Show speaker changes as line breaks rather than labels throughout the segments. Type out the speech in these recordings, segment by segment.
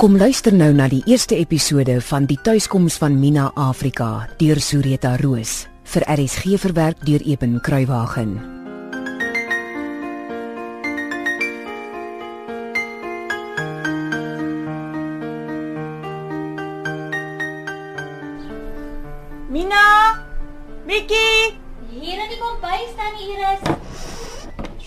Kom luister nou na die eerste episode van Die tuiskoms van Mina Afrika deur Sureta Roos vir RSG verwerk deur Eben Kruiwagen.
Mina! Mikkie!
Hier in die kombuis staan die Iris.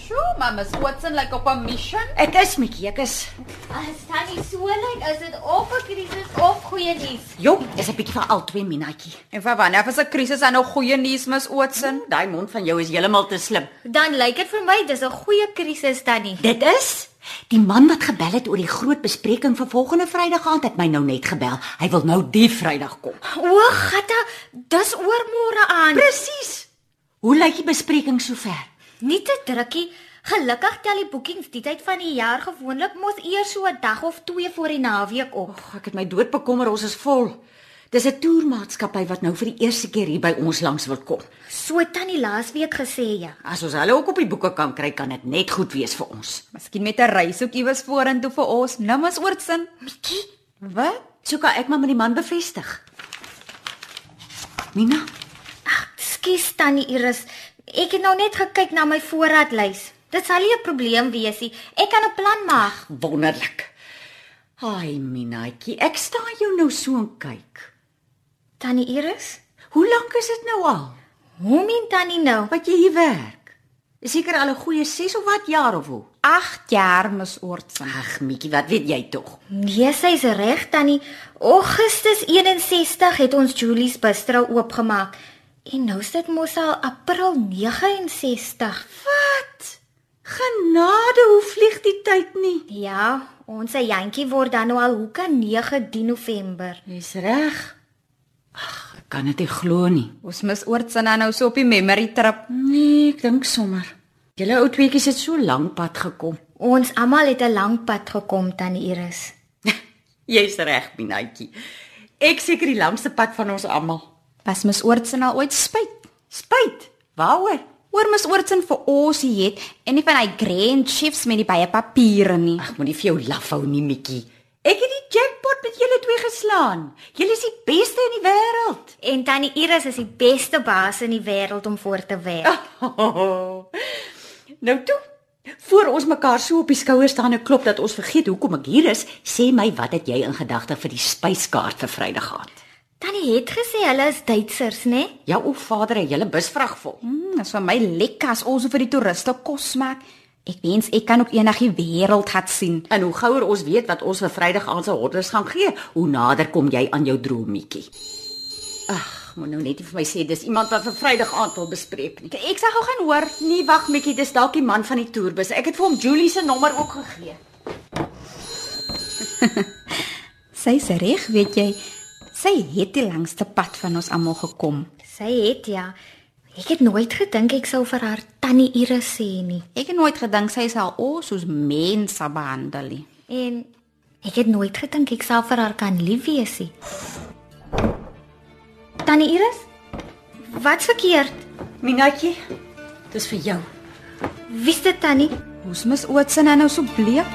Sjoe, mamma, Watson lyk like op 'n mission.
Ek is Mikkie, ek is.
As tannie so lyk, is dit of 'n krisis of goeie nuus.
Jong, dis 'n bietjie vir al twee Minatjie.
En vir wanneer is 'n krisis aan 'n goeie nuus, Miss Watson?
Daai mond van jou is heeltemal te slim.
Dan lyk dit vir my dis 'n goeie krisis tannie.
Dit is die man wat gebel het oor die groot bespreking vir volgende Vrydag aand het my nou net gebel. Hy wil nou die Vrydag kom.
O, gatta, dis oor môre aan.
Presies. Hoe lyk die bespreking sover?
Nie te drukkie. Gelukkig tel die boekings die tyd van die jaar gewoonlik mos eers so 'n dag of 2 voor die naweek op.
Och, ek het my dood bekommer, ons is vol. Dis 'n toermaatskappy wat nou vir die eerste keer hier by ons langs wil kom.
So het tannie laasweek gesê ja.
As ons hulle ook op die boeke kan kry, kan dit net goed wees vir ons.
Miskien met 'n reis ook iewers vorentoe vir ons. Nou, Miss Watson.
Mikkie,
Wat?
So kan ek maar met die man bevestig. Mina,
Ag, skus tannie Iris. Ek het nou net gekyk na my voorraadlys. Dit sal nie 'n probleem wees nie. Ek kan 'n plan maak.
wonderlik. Ai, Minaatjie, ek staan jou nou so en kyk.
Tannie Iris?
Hoe lank is dit nou al
Hoe min tannie nou?
wat jy hier werk? Seker al 'n goeie 6 of wat jaar of hoe?
8 jaar, Miss Watson.
Ag, Mikkie, wat weet jy tog?
Nee, sy's reg tannie. Augustus 61 het ons Julie's Bistro oopgemaak. En nou is dit mos al April 69.
Genade, hoe vlieg die tyd nie.
Ja, ons se jantjie word dan nou al hoeka 9 November.
Jy's reg. Ag, ek kan dit nie glo nie.
Ons Miss Watson nou so op die memory trip.
Nee, ek dink sommer. Julle ou tweeetjies het so lank pad gekom.
Ons almal het 'n lang pad gekom tannie Iris.
Jy's reg, Minaatjie. Ek seker die langste pad van ons almal.
Was Miss Watson al ooit spyt?
Spyt. Waaroor?
Oor Miss Watson vir ons hier het en nie van hy grand chiefs met die baie papiere nie.
Ag, moenie vir jou laf hou nie, Mikkie. Ek het die jackpot met julle twee geslaan. Julle is die beste in die wêreld.
En tannie Iris is die beste baas in die wêreld om voor te werk.
Ah.
nou toe. Voor ons mekaar so op die skouers staan en klop dat ons vergeet hoekom ek hier is, sê my wat het jy in gedagte vir die spyskaart vir Vrydag aand?
Tannie het gesê hulle is Duitsers, né? Nee?
Jou ou vader het julle busvrag vol.
Mm, dis vir my lekker as ons vir die toeriste kos maak. Ek wens ek kan ook eendag die wêreld gaan sien.
En hoe gouer ons weet wat ons vir Vrydag aan se hordes gaan gee, hoe nader kom jy aan jou droomietjie. Ag, moet nou net nie vir my sê dis iemand wat vir Vrydag aand wil bespreek nie.
Ek sê gou gaan hoor.
Nee, wag Mikkie, dis dalk die man van die toerbus. Ek het vir hom Julie se nommer ook gegee.
Sy's reg, weet jy. Sy het die langste pad van ons almal gekom.
Sy het ja. Ek het nooit gedink ek sou vir haar tannie Iris sê nie.
Ek het nooit gedink sy sal ons soos mense behandel nie.
En ek het nooit gedink ek sal vir haar kan lief wees nie. Tannie Iris? Wat verkeerd?
Minatjie, dis vir jou.
Wie's dit tannie?
Hoe's mis Ootsen nou so bleek?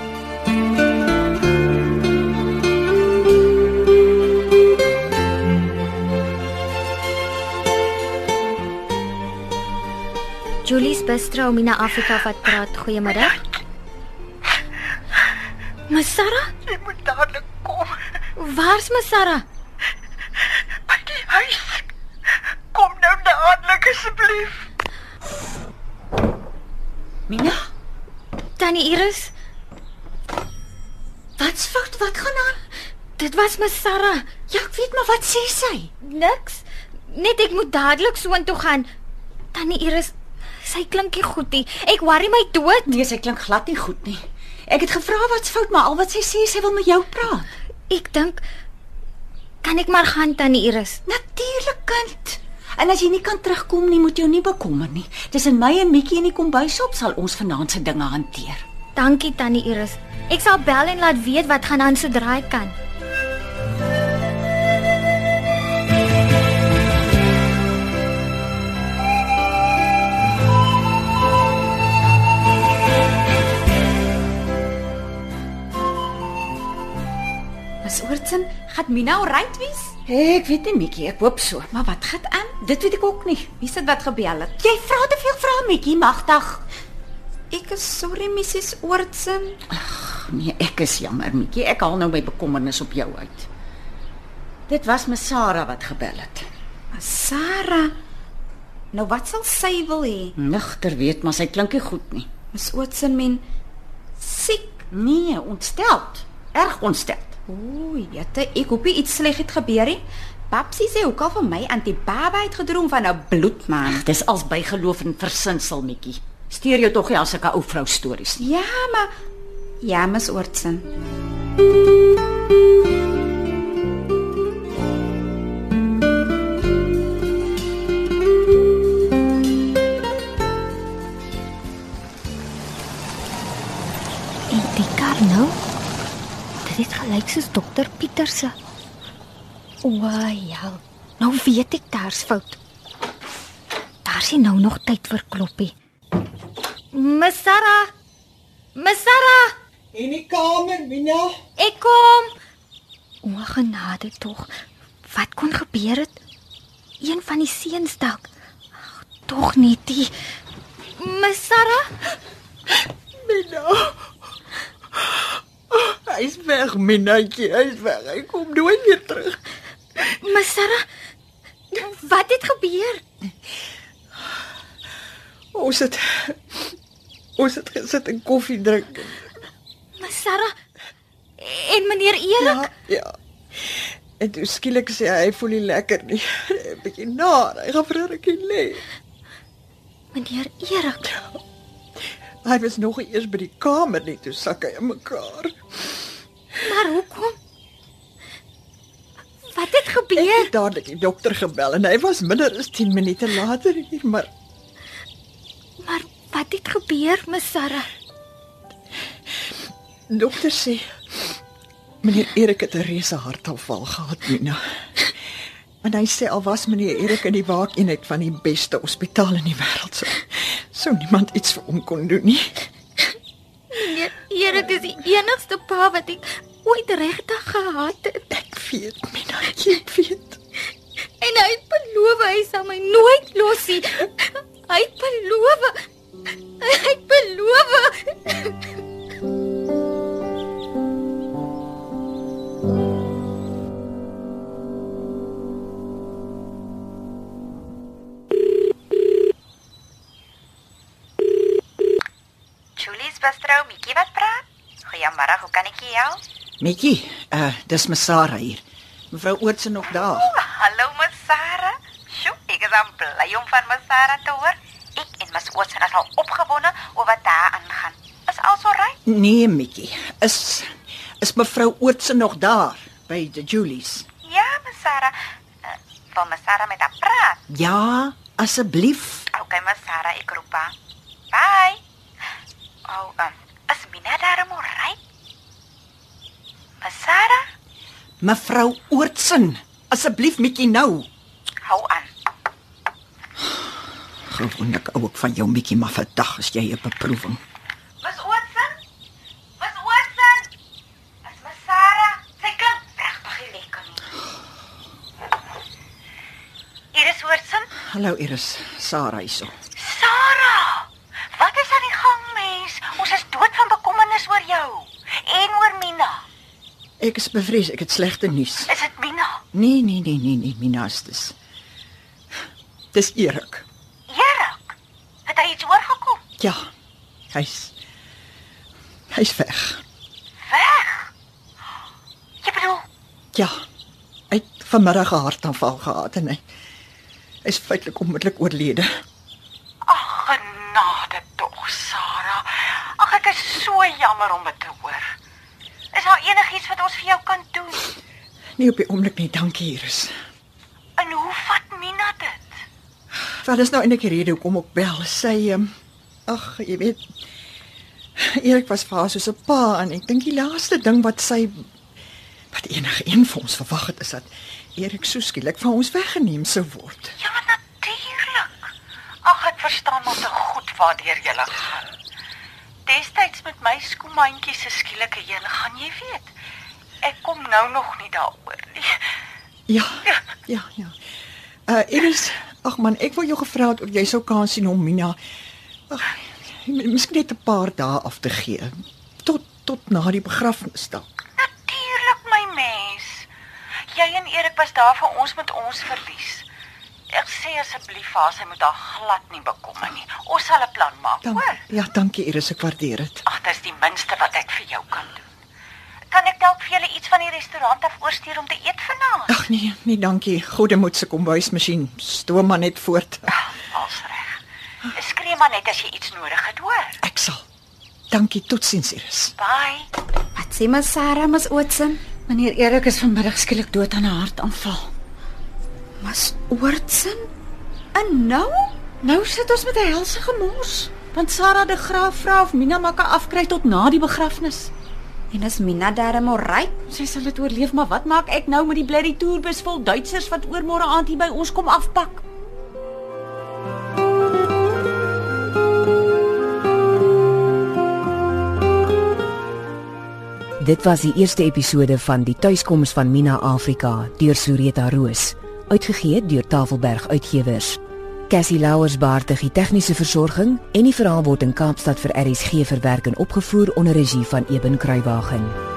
Julie's Bistro Mina Afrika wat praat. Goeiemiddag. Masara?
Jy moet dadelik kom
Waar's Masara?
by die huis. Kom nou dadelik asseblief.
Mina,
Tannie Iris?
wat's fout? Wat gaan aan?
Dit was Masara.
Ja, ek weet maar wat sê sy?
Niks. Net ek moet dadelik soontoe gaan. Tannie Iris, sy klink nie goed nie. Ek worry my dood.
Nee, sy klink glad nie goed nie. Ek het gevra wat's fout, maar al wat sy sê, sy wil met jou praat.
Ek dink kan ek maar gaan Tannie Iris.
Natuurlik kind. En as jy nie kan terugkom nie, moet jou nie bekommer nie. Tussen my en Mikkie in die kombuis op sal ons vanaand se dinge hanteer.
Dankie Tannie Iris. Ek sal bel en laat weet wat gaan aan sodra ek kan.
Jetson, gaan Mina alright wees?
Ek weet nie Mikkie, ek hoop so.
Maar wat gaan aan?
Dit weet ek ook nie.
Wie sit wat gebel het?
Jy vra te veel vrae Mikkie, magtig.
Ek is sorry, Mrs. Oortsen.
Nee, ek is jammer Mikkie, ek haal nou my bekommernis op jou uit. Dit was me Sarah wat gebel het.
Maar Sarah, nou wat sal sy wil hê?
Nigter weet, maar sy klink nie goed nie.
Mrs. Oortsen men siek.
Nee, ontsteld. Erg ontsteld.
Ooh, jette, ek hoop nie iets sleg het gebeur nie. Papsie sê ook al vir my antie Baba het gedroom van 'n bloedmaan.
Dis als bygeloof en versinsel Mikkie. Steur jou tog nie aan sulke ou vrou stories nie.
Ja, maar ja, Mrs. Oortsen.
En die kar nou? Dit het gelyk soos dokter Pieter se. O, ja. Nou weet ek daar's fout. Daar's nie nou nog tyd vir kloppie. Miss Sarah. Miss Sarah,
In die kamer, Mina.
ek kom. O, genade tog. Wat kon gebeur het? Een van die seuns dalk. Ag, Tog nie die Miss Sarah.
Mina. Hy's weg, Minatjie, hy's weg. Hy kom nooit weer terug.
Miss Sarah. Wat het gebeur?
Ons het ons het gesit en koffie drink.
Miss Sarah en meneer Erik.
ja. En toe skielik sê hy hy voel nie lekker nie. 'n Bietjie na, hy gaan vir 'n rukkie lê.
Meneer Erik.
Hy was nog nie eers by die kamer nie, toe sak hy in mekaar.
Maar hoekom? Wat het
Ek
gebeur?
het dadelik die dokter gebel en hy was minder as 10 minute later hier, maar
Maar wat het gebeur, Miss Sarah?
die dokter sê meneer Erik het 'n reuse hartaanval gehad, Mina. En hy sê al was meneer Erik in die waakeenheid van die beste hospitaal in die wêreld sou sou niemand iets vir hom kon doen nie.
Meneer Erik is die enigste pa wat ek ooit regtig gehad het
Ek weet, Mina, ek weet.
en hy het beloof hy sal my nooit los nie. Hy het beloof. Hy het beloof.
Julie's Bastrou, Mikkie wat praat? Goeiemôre, hoe kan ek jou help?
Netjie, uh dis me Sarah hier. Mevrou Oortsen nog daar.
O, Hallo, Ms Sarah. Sjoe, ek is aan bly om van Ms Sarah te hoor. Ek en Ms Oortsen is al opgewonde oor wat daar aangaan. Is alles reg?
Nee, Mikkie. Is is mevrou Oortsen nog daar by die Julies?
Ja, Ms Sarah. Uh, wil Ms Sarah met haar praat?
Ja, asseblief.
Okay, Ms Sarah, ek roep haar. Bye. O, um, is Mina daar om reg? Ms Sarah,
Mevrou Oortsen, asseblief Mikkie nou.
hou aan.
Gewoonlik ou ek van jou Mikkie, maar vandag is jy 'n beproewing.
Ms Watson? Ms Watson? Is Ms Sarah? Sy klink regtig nie lekker nie. Iris Watson?
Hallo Iris, Sarah hierso.
Sarah! Wat is aan die gang, mens? Ons is dood van bekommernis oor jou en oor Mina.
Ek is bevrees, ek het slegte nuus.
Is dit Mina?
Nee, nee, nee, nee, nee, Minastes. Dis Erik.
Erik? Het hy iets oorgekom?
Ja. Hy's hy's weg.
Weg? Jy bedoel,
Ja. Hy het vanmiddag 'n hartaanval gehad en hy hy is feitelik onmiddellik oorlede.
ag genade tog, Sarah. Ag ek is so jammer om dit te hoor. Is daar enigiets wat ons vir jou kan doen?
Nie Nee, op die oomblik nie, dankie Iris.
En hoe vat Mina dit?
Wel is nou eintlik die rede hoekom ek bel. Sy ehm ag, jy weet Erik was vir haar soos 'n pa en ek dink die laaste ding wat sy wat enige een van ons verwag het is dat Erik so skielik van ons weggeneem sou word.
Ja, natuurlik. Ag ek verstaan maar te goed waardeur jy gaan. Destyds met my skoemandjie se skielike heen gaan, jy weet. Ek kom nou nog nie daaroor nie.
Ja. Ja, ja. Uh Iris, ag man, ek wou jou gevra het of jy sou kans sien om Mina ag m- miskien net 'n paar dae af te gee tot tot na die begrafnis dalk.
Natuurlik my mens. Jy en Erik was daar vir ons met ons verlies. Ek sê asseblief vir haar sy moet haar glad nie bekommer nie. Ons sal 'n plan maak,
Dan,
hoor?
ja, dankie Iris, ek waardeer dit.
Ag, dis die minste wat ek vir jou kan doen. Kan ek dalk vir julle iets van die restaurant af oorstuur om te eet vanaand?
Ag nee, nee, dankie. Goeie moet se kombuismasjien stoom maar net voort.
Als reg. Skree maar net as jy iets nodig het, hoor?
Ek sal. Dankie, totsiens Iris.
Bye.
Wat sê my Sarah mos Ootsen?
Meneer Erik is vanmiddag skielik dood aan 'n hartaanval.
Mas Ootsen? En nou?
Nou sit ons met 'n helse gemors, want Sarah de Graaf vra of Mina maar kan afkry tot na die begrafnis.
En is Mina darm alright?
Sy sal dit oorleef, maar wat maak ek nou met die blerrie toerbus vol Duitsers wat oormôre aand hier by ons kom afpak?
Dit was die eerste episode van Die tuiskoms van Mina Afrika deur Sureta Roos, uitgegee deur Tafelberg Uitgewers. Cassie Louwers baar die tegniese versorging en die verhaal word in Kaapstad vir RSG verwerk en opgevoer onder regie van Eben Kruiwagen.